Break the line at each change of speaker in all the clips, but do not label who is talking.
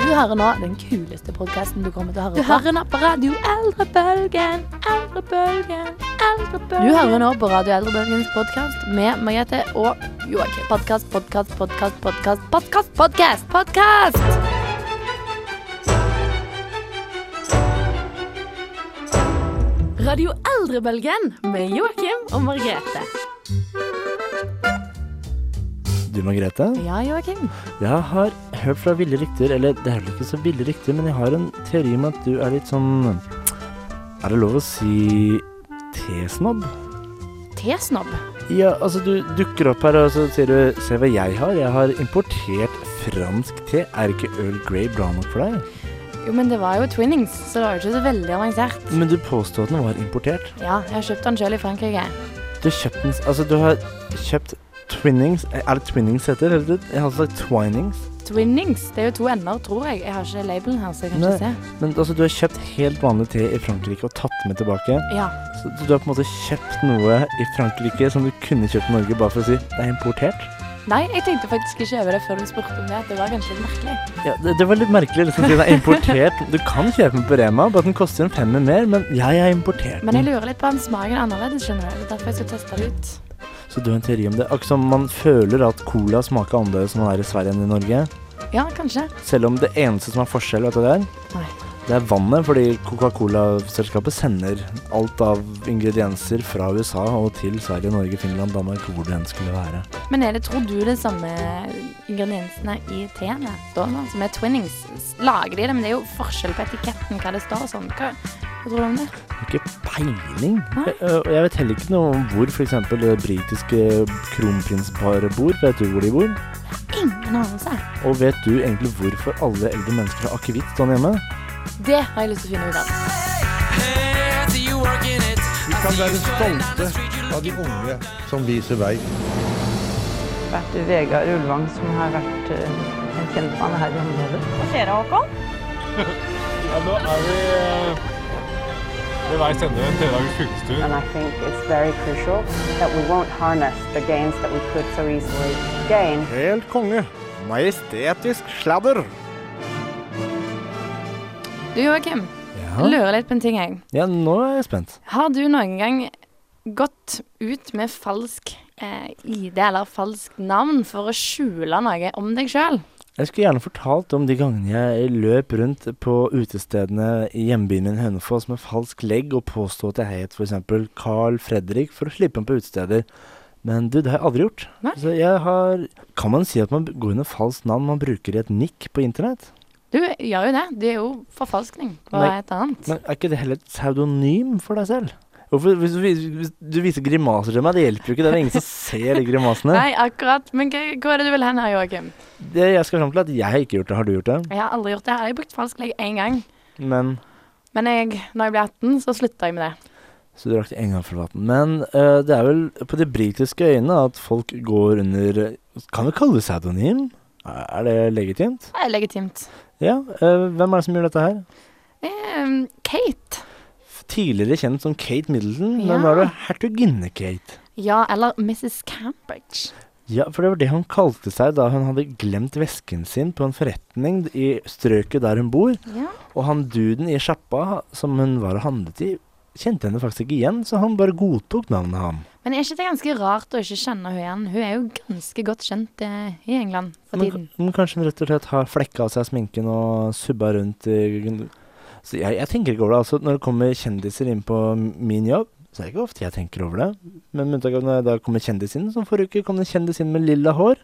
Du hører nå den kuleste podkasten du kommer til å høre på. Du hører nå på Radio Eldrebølgen, Eldrebølgen, Eldrebølgen. Du hører nå på Radio Eldrebølgens podkast med Margrethe og Joakim. Podkast, podkast, podkast, podkast, podkast, podkast, podkast! Radio Eldrebølgen med Joakim og Margrethe.
Du Margrethe,
Ja, Joakim.
jeg har hørt fra ville rykter, eller det er vel ikke så ville rykter, men jeg har en teori om at du er litt sånn Er det lov å si tesnobb?
Tesnobb.
Ja, altså du dukker opp her og så sier du Se hva jeg har, jeg har importert fransk te. Er ikke Earl Grey bra nok for deg?
Jo, men det var jo twinnings, så det var jo ikke så veldig avansert.
Men du påstod at den var importert.
Ja, jeg har kjøpt den sjøl i Frankrike.
Du har kjøpt den s- Altså, du har kjøpt Twinnings Er det Twinnings heter? Eller det- Jeg har sagt Twinings.
Twinnings, det er jo to ender, tror jeg. Jeg har ikke labelen her, så jeg kan ikke se.
Men altså, du har kjøpt helt vanlig te i Frankrike og tatt den med tilbake.
Ja,
Så du har på en måte kjøpt noe i Frankrike som du kunne kjøpt i Norge bare for å si det er importert?
Nei, jeg tenkte faktisk ikke over det før du spurte om det. at Det var kanskje litt merkelig.
Ja, det, det var litt merkelig liksom, å si det er importert. Du kan kjøpe den på Rema, bare at den koster en femmer mer, men jeg har importert
Men jeg
den.
lurer litt på om smaken er annerledes, skjønner du. Det er derfor jeg skal teste det ut.
Så du har en teori om det. Akkurat som man føler at cola smaker annerledes når man er i Sverige enn i Norge.
Ja, kanskje.
Selv om det eneste som er forskjell, vet du hva det
Nei.
er? Det er vannet, fordi Coca-Cola-selskapet sender alt av ingredienser fra USA og til Sverige, Norge, Finland, Danmark, hvor det enn skulle være.
Men er det, tror du, det samme ingrediensene i teene da, da, som er twinnings? Lager de det, men det er jo forskjell på etiketten, hva det står og sånn. Hva, hva tror du om det?
Ikke peiling.
Nei.
Jeg, og jeg vet heller ikke noe om hvor f.eks. det britiske kronprinsparet bor. Vet du hvor de bor?
Ingen anelse.
Og vet du egentlig hvorfor alle eldre mennesker har akevitt sånn hjemme?
Det har jeg lyst til å finne ut av.
Vi kan være stolte av de unge som viser vei.
vært Vegard Ulvang, som har vært eh, en kjentmann her i området.
Nå er vi eh, ved veis ende en tredagers fylkestur.
And I think it's very crucial that we won't harness the gains that we could so easily gain
Helt konge. Majestetisk sladder.
Du, Joakim. Lurer litt på en ting, jeg.
Ja, nå er jeg spent.
Har du noen gang gått ut med falsk eh, ID eller falskt navn for å skjule noe om deg sjøl?
Jeg skulle gjerne fortalt om de gangene jeg løp rundt på utestedene i hjembyen min Hønefoss med falsk legg og påstod at jeg het f.eks. Carl Fredrik for å slippe inn på utesteder. Men du, det har jeg aldri gjort.
Nei.
Så jeg har Kan man si at man går under falskt navn man bruker i et nikk på internett?
Du gjør jo det. Det er jo forfalskning. Hva
Nei.
er et annet?
Men er ikke det heller et pseudonym for deg selv? Hvorfor, hvis, du vis- hvis du viser grimaser til meg, det hjelper jo ikke. Det er jo ingen som ser de grimasene.
Nei, akkurat. Men hva, hva er det du vil hen her, Joakim?
Det jeg skal fram til, er at jeg har ikke gjort det. Har du gjort det?
Jeg har aldri gjort det. Jeg har brukt falsk legg én gang.
Men
Men jeg, når jeg ble 18, så slutta jeg med det.
Så du rakk en gang for vatten. Men eh, det er vel på de britiske øyene at folk går under Kan vi kalle det pseudonym? Er det legitimt?
Det er legitimt.
Ja. eh, hvem er det som gjør dette her?
Eh, Kate.
Tidligere kjent som Kate Middleton,
Ja.
men nå er det hertuginne-Kate.
Ja, eller Mrs. Cambridge.
Ja, for det var det hun kalte seg da hun hadde glemt vesken sin på en forretning i strøket der hun bor.
Ja.
Og han duden i sjappa som hun var og handlet i, kjente henne faktisk ikke igjen, så han bare godtok navnet ham.
Men er ikke det ganske rart å ikke kjenne henne igjen? Hun er jo ganske godt kjent eh, i England for
Men,
tiden.
men kanskje hun rett og slett har flekka av seg sminken og subba rundt i Så jeg, jeg tenker ikke over det. Altså, når det kommer kjendiser inn på min jobb, så er det ikke ofte jeg tenker over det. Men med unntak av når jeg da kommer kjendis inn, som forrige uke kom det en kjendis inn med lilla hår.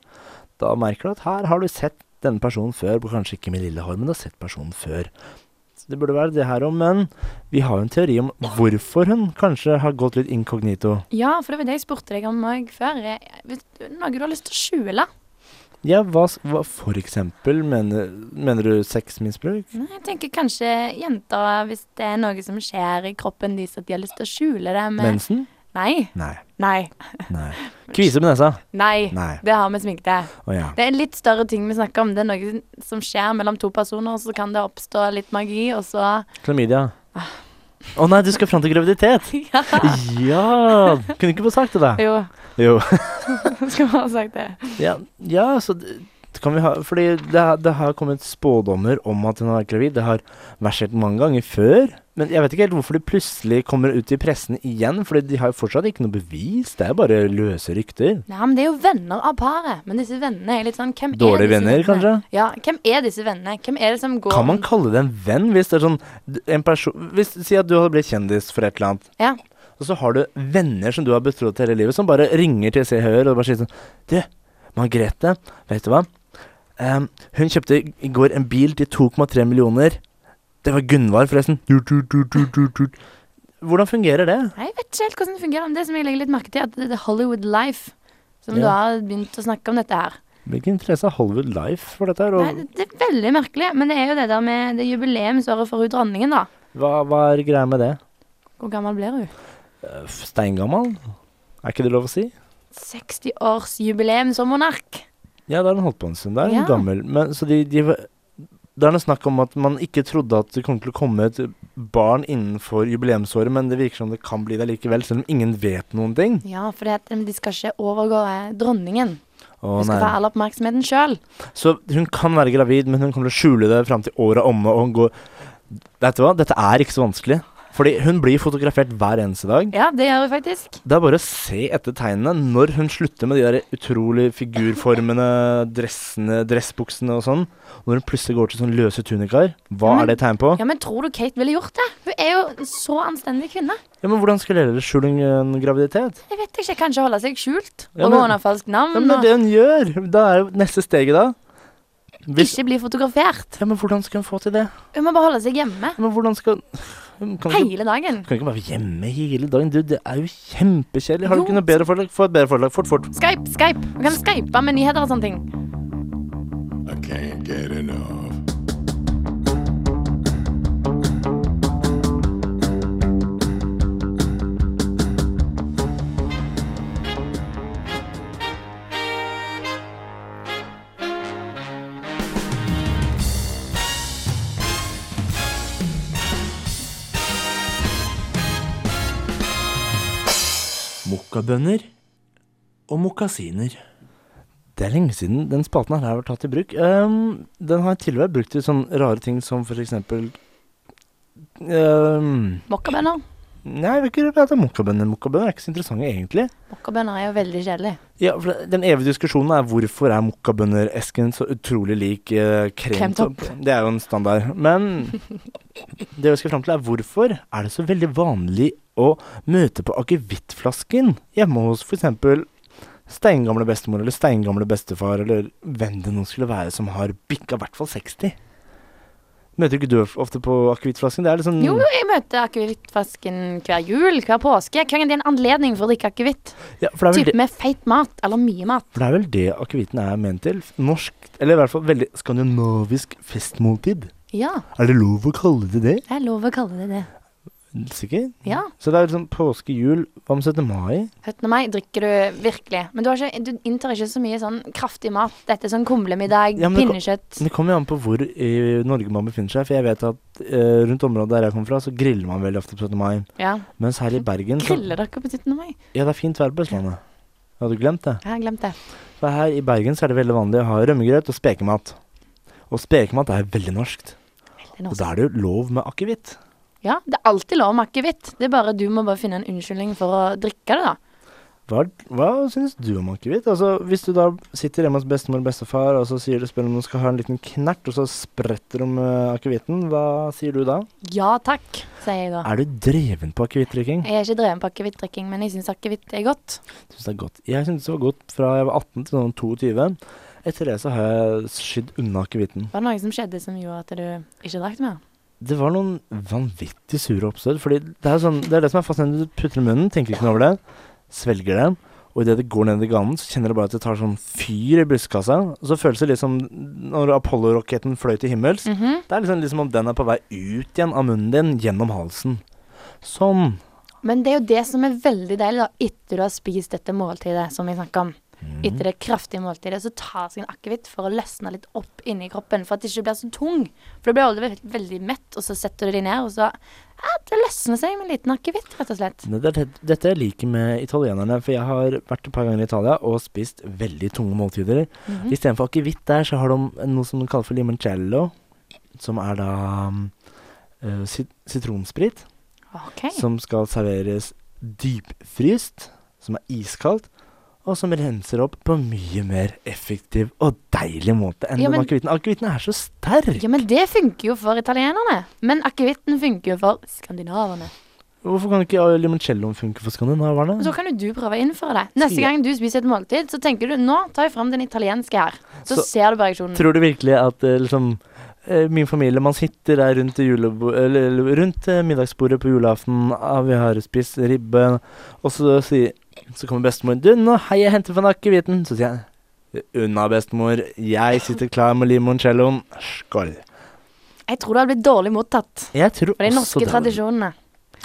Da merker du at her har du sett denne personen før. Kanskje ikke med lilla hår, men du har sett personen før. Så det burde være det her òg, men vi har jo en teori om hvorfor hun kanskje har gått litt inkognito.
Ja, for det var det jeg spurte deg om òg før. Eh, vet du, Noe du har lyst til å skjule?
Ja, hva, s- hva for eksempel mener, mener du sexmisbruk?
Nei, Jeg tenker kanskje jenter, hvis det er noe som skjer i kroppen deres, at de har lyst til å skjule det med
Mensen?
Nei.
Nei.
Nei.
Nei. Kvise med nesa?
Nei.
Nei.
Det har vi sminke.
Å ja.
Det er en litt større ting vi snakker om. Det er noe som skjer mellom to personer, så kan det oppstå litt magi, og så
Klamydia. Å nei, du skal fram til graviditet!
Ja.
Ja! Kunne ikke få sagt det, da.
Jo,
Jo.
skulle bare sagt det.
Ja, ja så d- dette kan vi ha Fordi det, har- det har kommet spådommer om at hun har vært gravid. Det har versert mange ganger før. Men jeg vet ikke helt hvorfor de plutselig kommer ut i pressen igjen. Fordi de har jo fortsatt ikke noe bevis. Det er bare løse rykter.
Nei, men Det er jo venner av paret. Men disse vennene er litt sånn hvem er
Dårlige
disse
venner,
vennene?
kanskje?
Ja, Hvem er disse vennene? Hvem er det som går
Kan man kalle det en venn hvis det er sånn d- en person hvis, Si at du hadde blitt kjendis for et eller annet.
Ja.
Og så har du venner som du har betrodd hele livet, som bare ringer til Se og Hør og bare sier sånn Du, Margrethe, vet du hva? Ehm, hun kjøpte i- i går en bil til 2,3 millioner. Det var Gunvar, forresten. Tut, tut, tut, tut, tut, tut. Hvordan fungerer det?
Nei, Jeg vet ikke helt hvordan det fungerer. Men det som jeg legger litt merke til, er at det er Hollywood Life som
Ja.
da har begynt å snakke om dette her.
Hvilken interesse har Hollywood Life for dette her?
Nei,
Og
det- det er veldig merkelig. Men det er jo det der med det jubileumsåret for hun dronningen, da.
hva, hva er greia med det?
Hvor gammel blir hun?
Eh, Steingammal? Er ikke det lov å si?
60-årsjubileum som monark.
Ja, da har den holdt på en stund. Da er den
Ja.
gammel. Men, så de, de var- Da er det snakk om at man ikke trodde at det kom til å komme et barn innenfor jubileumsåret, men det virker som det kan bli det likevel, selv om ingen vet noen ting.
Ja, for det, at de skal ikke overgå eh, dronningen.
Å,
Hun skal få
nei.
all oppmerksomheten sjøl.
Så hun kan være gravid, men hun kommer til å skjule det fram til året er omme, og hun går Vet du hva, dette er ikke så vanskelig. Fordi hun blir fotografert hver eneste dag.
Ja, det gjør hun faktisk.
Det er bare å se etter tegnene når hun slutter med de der utrolig figurformene, dressene, dressbuksene og sånn. Når hun plutselig går til sånne løse tunikaer. Hva
Ja, men-
er det tegn på?
Ja, Men tror du Kate ville gjort det? Hun er jo en så anstendig kvinne.
Ja, men Hvordan skulle dere skjule en- en graviditet?
Jeg vet ikke, Kanskje holde seg skjult?
Ja,
og
men-
gå under falskt navn?
Ja, men Det er det hun gjør! Da er jo neste steget, da. Hvis,
Ikke bli fotografert.
ja, men hvordan skal hun få til det?
Hun må bare holde seg hjemme
Ja, men hvordan skal Hun kan ikke,
hele dagen.
kan ikke bare være hjemme hele dagen. Du, det er jo kjempekjedelig. Har du
Jo.
ikke noe bedre forlag? Få et bedre forlag. Fort, fort.
Skype, Skype. Hun kan skype med nyheter og sånne ting.
I can't get enough.
Mokkabønner og mokkasiner. Det er lenge siden den spalten her har vært tatt i bruk. Ehm, den har tidligere vært brukt til sånne rare ting som for eksempel ehm,
Mokkabønner.
Nei, jeg vil ikke prate om mokkabønner. Mokkabønner er ikke så interessante, egentlig.
Mokkabønner er jo veldig kjedelig.
Ja, for det- Den evige diskusjonen er hvorfor er mokkabønneresken så utrolig lik eh, kremtopp. Det er jo en standard. Men det vi skal fram til, er hvorfor er det så veldig vanlig å møte på akevittflasken hjemme hos f.eks. steingamle bestemor eller steingamle bestefar eller hvem det nå skulle være som har bikka i hvert fall 60? Møter ikke du ofte på akevittflasken? Det er liksom
Jo, jo, jeg møter akevittflasken hver jul, hver påske. Hver gang det er en anledning for å drikke akevitt.
ja, for det er vel det-
Type med feit mat eller mye mat.
For det er vel det akevitten er ment til. Norsk, eller i hvert fall veldig skandinavisk festmåltid.
Ja,
Er det lov å kalle det det?
det er lov å kalle det det.
Sikker?
Ja.
Så det er liksom påske, jul, hva med 17. mai?
17. mai drikker du virkelig. Men du, har ikke, du inntar ikke så mye sånn kraftig mat. Dette er sånn kumlemiddag,
Ja, men det Mm.
pinnekjøtt.
Det kommer jo an på hvor i Norge man befinner seg, for jeg vet at eh, rundt området der jeg kommer fra, så griller man veldig ofte på 17. mai.
Ja.
Mens her i Bergen så
Griller dere på 17. mai?
Ja, det er fint vær på Østlandet. Hadde du glemt det?
Jeg har glemt det.
For her i Bergen så er det veldig vanlig å ha rømmegrøt og spekemat. Og spekemat er veldig norskt.
Det er norsk.
Og da er det jo lov med akevitt.
Ja, det er alltid lov med akevitt. Det er bare du må bare finne en unnskyldning for å drikke det, da.
Hva, hva syns du om akevitt? Altså, hvis du da sitter hjemme hos bestemor og bestefar, og så sier du spør om du skal ha en liten knert, og så spretter de eh, akevitten, hva sier du da?
Ja takk, sier jeg da.
Er du dreven på akevittdrikking?
Jeg er ikke dreven på akevittdrikking, men jeg syns akevitt er godt.
Jeg syns det er godt. Jeg syns det var godt fra jeg var 18 til sånn 22. Etter det så har jeg skydd unna akevitten.
Var det noe som skjedde som gjorde at du ikke drakk mer?
Det var noen vanvittig sure oppstøt, fordi det er, sånn, det er det som er fascinerende. Du putter det i munnen, tenker ikke noe over det, svelger det. Og idet det går ned i ganen, så kjenner du bare at det tar sånn fyr i brystkassa. Og så føles det litt som når Apollo-raketten fløy til himmels.
Mm. Mhm.
Det er liksom, liksom om den er på vei ut igjen av munnen din, gjennom halsen. Sånn.
Men det er jo det som er veldig deilig, da, etter du har spist dette måltidet som vi snakker om. etter det kraftige måltidet, så ta seg en akevitt for å løsne litt opp inni kroppen, for at det ikke blir så tung. For du blir aldri veldig, veldig mett, og så setter du deg ned, og så ja, Det løsner seg med en liten akevitt, rett og slett.
Det, det, dette jeg liker med italienerne, for jeg har vært et par ganger i Italia og spist veldig tunge måltider.
Mhm. Mm.
Istedenfor akevitt der, så har de noe som de kaller for limoncello, som er da mm, eh, sit sitronsprit,
OK.
som skal serveres dypfryst, som er iskaldt, og som renser opp på en mye mer effektiv og deilig måte enn
Ja,
ja,
men-
akevitten. Akevitten er så sterk!
Ja, men det funker jo for italienerne. Men akevitten funker jo for skandinavene.
Hvorfor kan ikke eh, limoncelloen funke for skandinaverne?
Og så kan jo du prøve å innføre det. Neste
Sier-
gang du spiser et måltid, så tenker du nå tar jeg fram den italienske her. Så,
Så-
ser du på reaksjonen.
Tror du virkelig at eh, liksom eh, min familie, man sitter der rundt, julebo eller, eller rundt eh, middagsbordet på julaften, ah, vi har spist ribbe, og så, sier- så kommer bestemor Du, nå hei, jeg henter fra akevitten. Så sier jeg Unna, bestemor. Jeg sitter klar med limoncelloen. Skål.
Jeg tror det hadde blitt dårlig mottatt.
Jeg tror
For de
også
norske
det-
tradisjonene.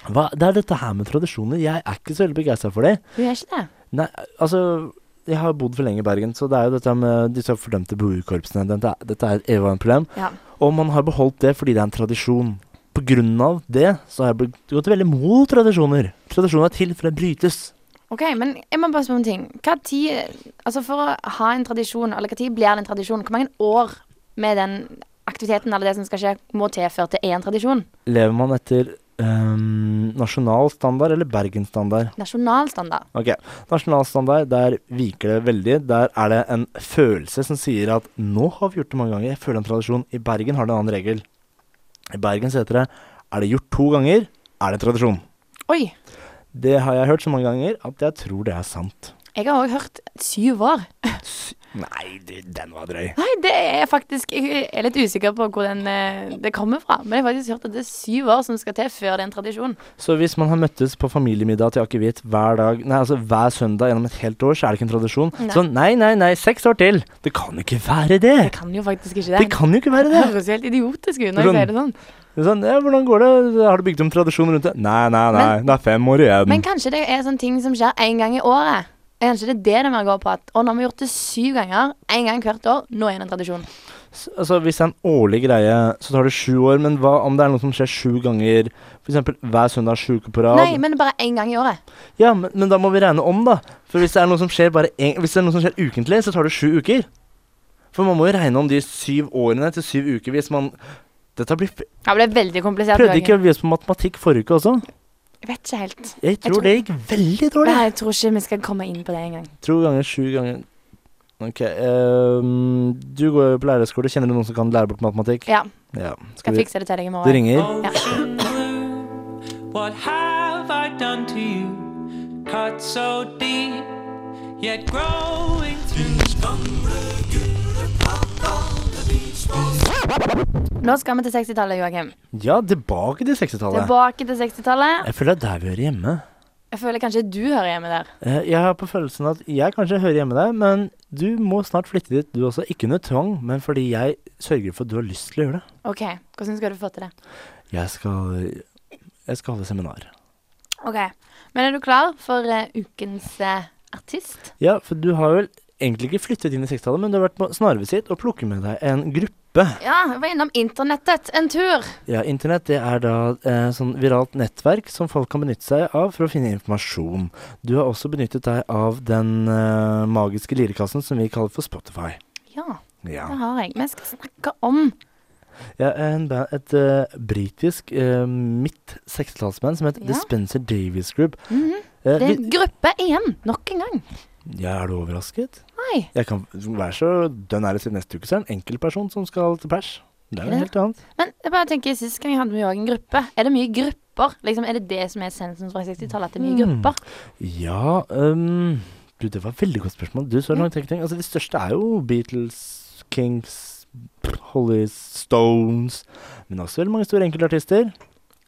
Hva, det er dette her med tradisjoner. Jeg er ikke så veldig begeistra for det.
Du er ikke det?
Nei, altså Jeg har bodd for lenge i Bergen, så det er jo dette med disse fordømte boerkorpsene. Dette, er- dette er et evig problem.
Ja.
Og man har beholdt det fordi det er en tradisjon. På grunn av det så har jeg blitt- gått veldig mot tradisjoner. Tradisjoner er til for å brytes.
Ok, men jeg må bare spørre om en ting. Hva tid, altså For å ha en tradisjon, eller hva tid blir det en tradisjon? Hvor mange år med den aktiviteten eller det som skal skje, må til før det er en tradisjon?
Lever man etter øhm, nasjonal standard eller Bergen-standard?
Nasjonalstandard.
Ok, Nasjonalstandard, der viker det veldig. Der er det en følelse som sier at nå har vi gjort det mange ganger. Jeg føler en tradisjon. I Bergen har det en annen regel. I Bergen så heter det er det gjort to ganger, er det en tradisjon.
Oi!
Det har jeg hørt så mange ganger at jeg tror det er sant.
Jeg har òg hørt syv år.
S- Nei, du, den var drøy.
Nei, det er faktisk Jeg er litt usikker på hvor den, eh, det kommer fra. Men jeg har faktisk hørt at det er syv år som skal til før det er en tradisjon.
Så hvis man har møttes på familiemiddag til akevitt hver dag Nei, altså hver søndag gjennom et helt år, så er det ikke en tradisjon.
Nei.
Sånn nei, nei, nei, seks år til! Det kan jo ikke være det!
Det kan jo faktisk ikke
Det
det.
kan jo ikke være det!
høres jo helt idiotisk ut når jeg
Hvordan-
sier det sånn.
Det er Sånn, ja, hvordan går det? Har du bygd om tradisjon rundt det? Nei, nei, nei, det er fem år igjen.
Men kanskje det er sånne ting som skjer én gang i året. Kanskje det er det det mer går på. At, og nå har vi gjort det syv ganger, én gang hvert år. Nå er det en tradisjon.
S- altså, hvis det er en årlig greie, så tar det sju år, men hva om det er noe som skjer sju ganger? For eksempel hver søndag sju uker på rad?
Nei, men bare én gang i året.
Ja, men, men da må vi regne om, da. For hvis det er noe som skjer, bare en, hvis det er noe som skjer ukentlig, så tar det sju uker. For man må jo regne om de syv årene til syv uker hvis man Dette blir f-
Ja, men det er veldig komplisert.
Prøvde ikke
Jørgen.
vi oss på matematikk forrige uke også?
Jeg vet ikke helt.
Jeg tror,
tror-
det gikk veldig dårlig.
Nei, jeg tror ikke vi skal komme inn på det engang.
To ganger sju ganger Ok. ehm, du går jo på lærerskole. Kjenner du noen som kan lære bort matematikk?
Ja,
Ja. Skal
skal
vi
fikse det til deg i
Det
morgen.
ringer.
Ocean blue, what have I done to you? Cut so deep, yet growing through.
Nå skal vi til 60-tallet, Joakim.
Ja, tilbake til 60-tallet.
Tilbake til 60-tallet.
Jeg føler det er der vi hører hjemme.
Jeg føler kanskje du hører hjemme der.
Eh, Jeg har på følelsen at jeg kanskje hører hjemme der, men du må snart flytte dit, du også. Ikke under tvang, men fordi jeg sørger for at du har lyst til å gjøre det.
Ok, Hvordan skal du få til det?
Jeg skal Jeg skal holde seminar.
Ok, Men er du klar for eh, ukens eh, artist?
Ja, for du har vel egentlig ikke flyttet inn i 60-tallet, men du har vært på snarvisitt og plukket med deg en gruppe.
Ja, jeg var innom internettet en tur.
Ja, Internett det er da eh, sånn viralt nettverk som folk kan benytte seg av for å finne informasjon. Du har også benyttet deg av den eh, magiske lirekassen som vi kaller for Spotify.
Ja,
Ja.
det har jeg. Vi skal snakke om
Ja, en ba- et eh, britisk eh, midt 60-tallsband som heter
Ja.
The Spencer Davies Group.
Mhm.
Eh,
Det er en
vi,
gruppe igjen. Nok en gang.
ja, er du overrasket?
Nei.
Jeg kan være så Den er det til neste uke, så er det en enkeltperson som skal til pers. Det er
Ja.
jo helt annet.
Men jeg bare tenker, sist gang hadde vi òg en gruppe. Er det mye grupper? Liksom, er det det som er essensen fra 60-tallet? At det er mye
Mm.
grupper?
Ja um, Du, det var et veldig godt spørsmål. Du, så langt tenkt. Altså, de største er jo Beatles, Kings, Holly Stones Men også veldig mange store enkeltartister.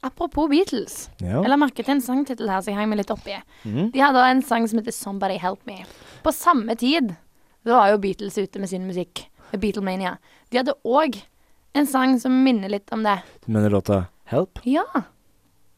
Apropos Beatles.
Ja.
Eller merket en sangtittel her som jeg hang meg litt opp i.
Mm.
De hadde også en sang som heter 'Somebody Help Me'. På samme tid da var jo Beatles ute med sin musikk. med Beatlemania. De hadde òg en sang som minner litt om det.
Du mener låta Help?
Ja,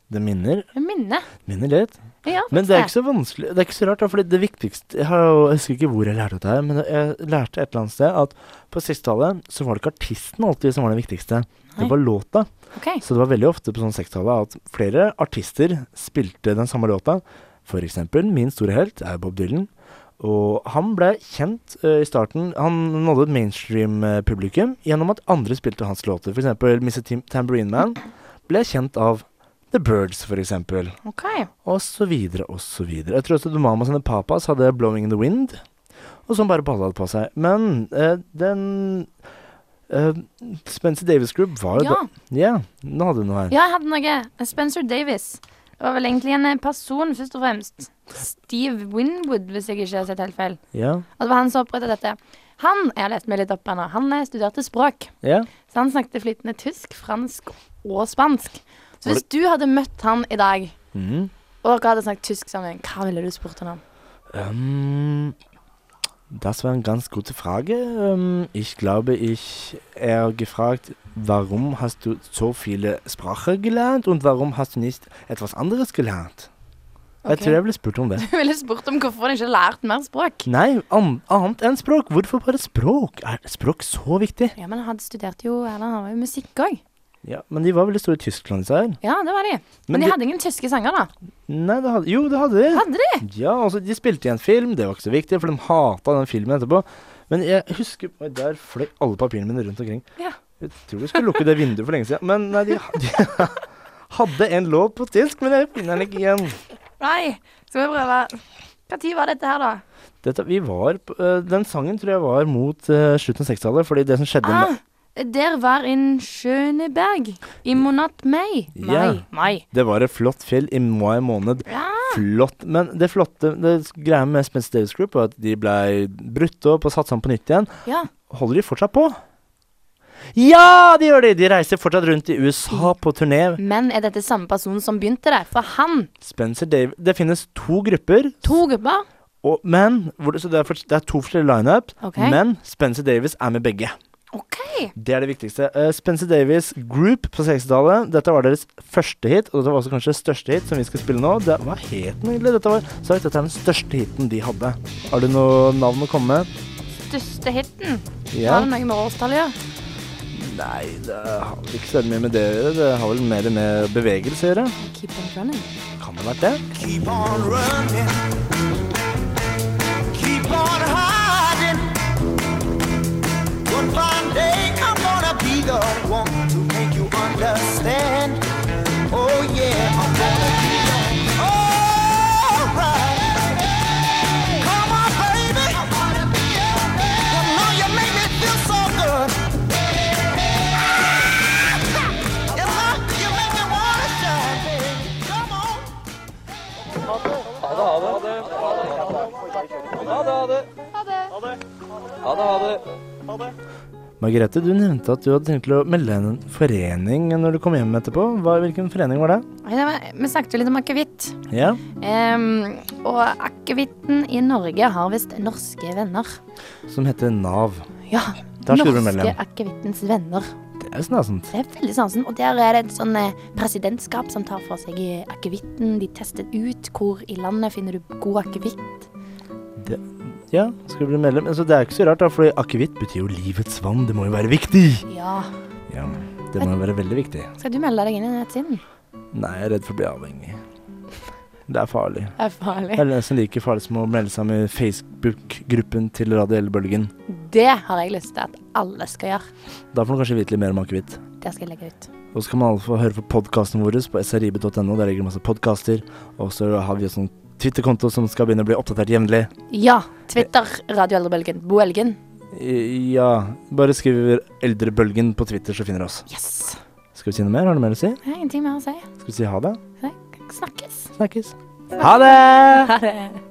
Det minner,
jeg minner.
minner litt.
Ja,
Men det er ikke så vanskelig Det er ikke så rart, da, fordi det viktigste Jeg, har jo, jeg husker ikke hvor jeg lærte dette, her, men jeg lærte et eller annet sted at på 60-tallet så var det ikke artisten alltid som var det viktigste.
Nei.
Det var låta.
Ok.
Så det var veldig ofte på sånn 60-tallet at flere artister spilte den samme låta. For eksempel min store helt er Bob Dylan. Og han ble kjent eh, i starten Han nådde et mainstream-publikum gjennom at andre spilte hans låter. For eksempel Mr. Tim Tambourine Man ble kjent av The Birds, for eksempel.
ok.
Og så videre og så videre. Jeg tror også The Mamas and the Papas hadde 'Blowing in the Wind', og som bare balla det på seg. Men eh, den eh, Spencer Davis Group var jo
Ja.
da Ja, nå hadde du noe her.
Ja, jeg hadde noe. Spencer Davis. Det var vel egentlig en eh, person, først og fremst. Steve Winwood, hvis jeg ikke har sett helt feil.
Ja.
Og det var han som opprettet dette. Han jeg har lest meg litt opp her nå, han eh, studerte språk.
ja.
Så han snakket flytende tysk, fransk og spansk. Så hvis du hadde møtt han i dag,
Mhm.
og dere hadde snakket tysk sammen, hva ville du spurt han om?
Ähm, das war eine ganz gute Frage. Ähm, ich glaube, ich eher gefragt, warum hast du so viele Sprachen gelernt und warum hast du nicht etwas anderes gelernt? Jeg tror jeg ble spurt om det.
Du ville spurt om hvorfor han ikke har lært mer språk.
Nei, an annet enn språk. Hvorfor bare språk? Er språk så viktig?
Ja, men han studerte jo, eller han var jo musikk òg.
Ja, Men de var veldig store i Tyskland, disse her.
Ja, det var de. Men,
Men
de
de-
hadde ingen tyske sanger, da.
Nei, det hadde, jo, det hadde de.
Hadde de?
Ja, altså, de spilte i en film, det var ikke så viktig, for de hata den filmen etterpå. Men jeg husker Oi, Der fløy alle papirene mine rundt omkring.
Ja.
Jeg tror vi skulle lukke det vinduet for lenge siden. Men nei, de, de hadde en låt på tysk, men jeg finner den ikke igjen.
Nei, skal vi prøve. Når var dette her, da?
Dette, vi var, på- øh, den sangen tror jeg var mot øh, slutten av 60-tallet, fordi det som skjedde
Ah, der var en Schöneberg i Monat Mai.
Mai. Ja.
Mai.
Det var et flott fjell i mai måned.
Ja.
Flott. Men det flotte det greia med Spencer Davis Group var at de blei brutt opp og satt sammen på nytt igjen.
Ja.
Holder de fortsatt på? Ja, de gjør det! De reiser fortsatt rundt i USA på turné.
Men er dette samme person som begynte det? For han,
Spencer Davis Det finnes to grupper,
to grupper
og, men hvor det, Så det er, for, det er to forskjellige lineup,
Ok.
men Spencer Davis er med begge.
OK.
Det er det viktigste. Eh, Spencer Davis Group på 60-tallet. Dette var deres første hit, og dette var også kanskje deres største hit som vi skal spille nå. Det, hva het den egentlig? Dette var sagt, dette er den største hiten de hadde. Har du noe navn å komme med?
Største hiten.
Ja?
Har det noe med årstall å gjøre?
Nei, det har vel ikke så veldig mye med det å gjøre. Det har vel mer med bevegelse å gjøre.
Keep on running.
Kan det ha vært det?
Keep on running. Keep on hiding. But one day I'm gonna be the one to make you understand. Oh yeah, I'm gonna be alright. Come on, baby. Well, now you make me feel so good. Yes, sir, you make me wanna shine, baby. Come on.
Margrethe, du nevnte at du hadde tenkt til å melde en forening når du kom hjem etterpå. Hva, hvilken forening var det?
Nei, det var- Vi snakket jo litt om akevitt.
Ja?
Ehm, og akevitten i Norge har visst norske venner.
Som heter Nav.
Ja.
Der skulle du
norske
melde.
akevittens venner.
Det er sånn snasent.
Det er veldig sansen, og der er det et sånn eh, presidentskap som tar for seg eh, akevitten. De tester ut hvor i landet finner du god akevitt.
Ja, skal bli medlem. Altså, det er ikke så rart, da, for akevitt betyr jo livets vann. Det må jo være viktig.
Ja.
Ja, det må jo være veldig viktig.
Skal du melde deg inn i nettsiden?
Nei, jeg er redd for å bli avhengig. Det er farlig.
Det er farlig.
Det er nesten like farlig som å melde seg med i Facebook-gruppen til Radio Elbølgen.
Det har jeg lyst til at alle skal gjøre.
Da får du kanskje vite litt mer om akevitt.
Det skal jeg legge ut.
Og så kan man alle få høre på podkasten vår på srib.no. Der ligger det masse podkaster. Og så har vi en sånn Twitter-konto som skal begynne å bli oppdatert jevnlig.
Ja. Twitter, Radio Eldrebølgen, Bo Elgen.
I- Ja, bare skriv 'Eldrebølgen' på Twitter, så finner du oss.
Yes.
Skal vi si noe mer? Har du noe mer å si?
Det er ingenting mer å si.
Skal vi si ha det?
Snakkes.
Snakkes. Ha det!
Ha det.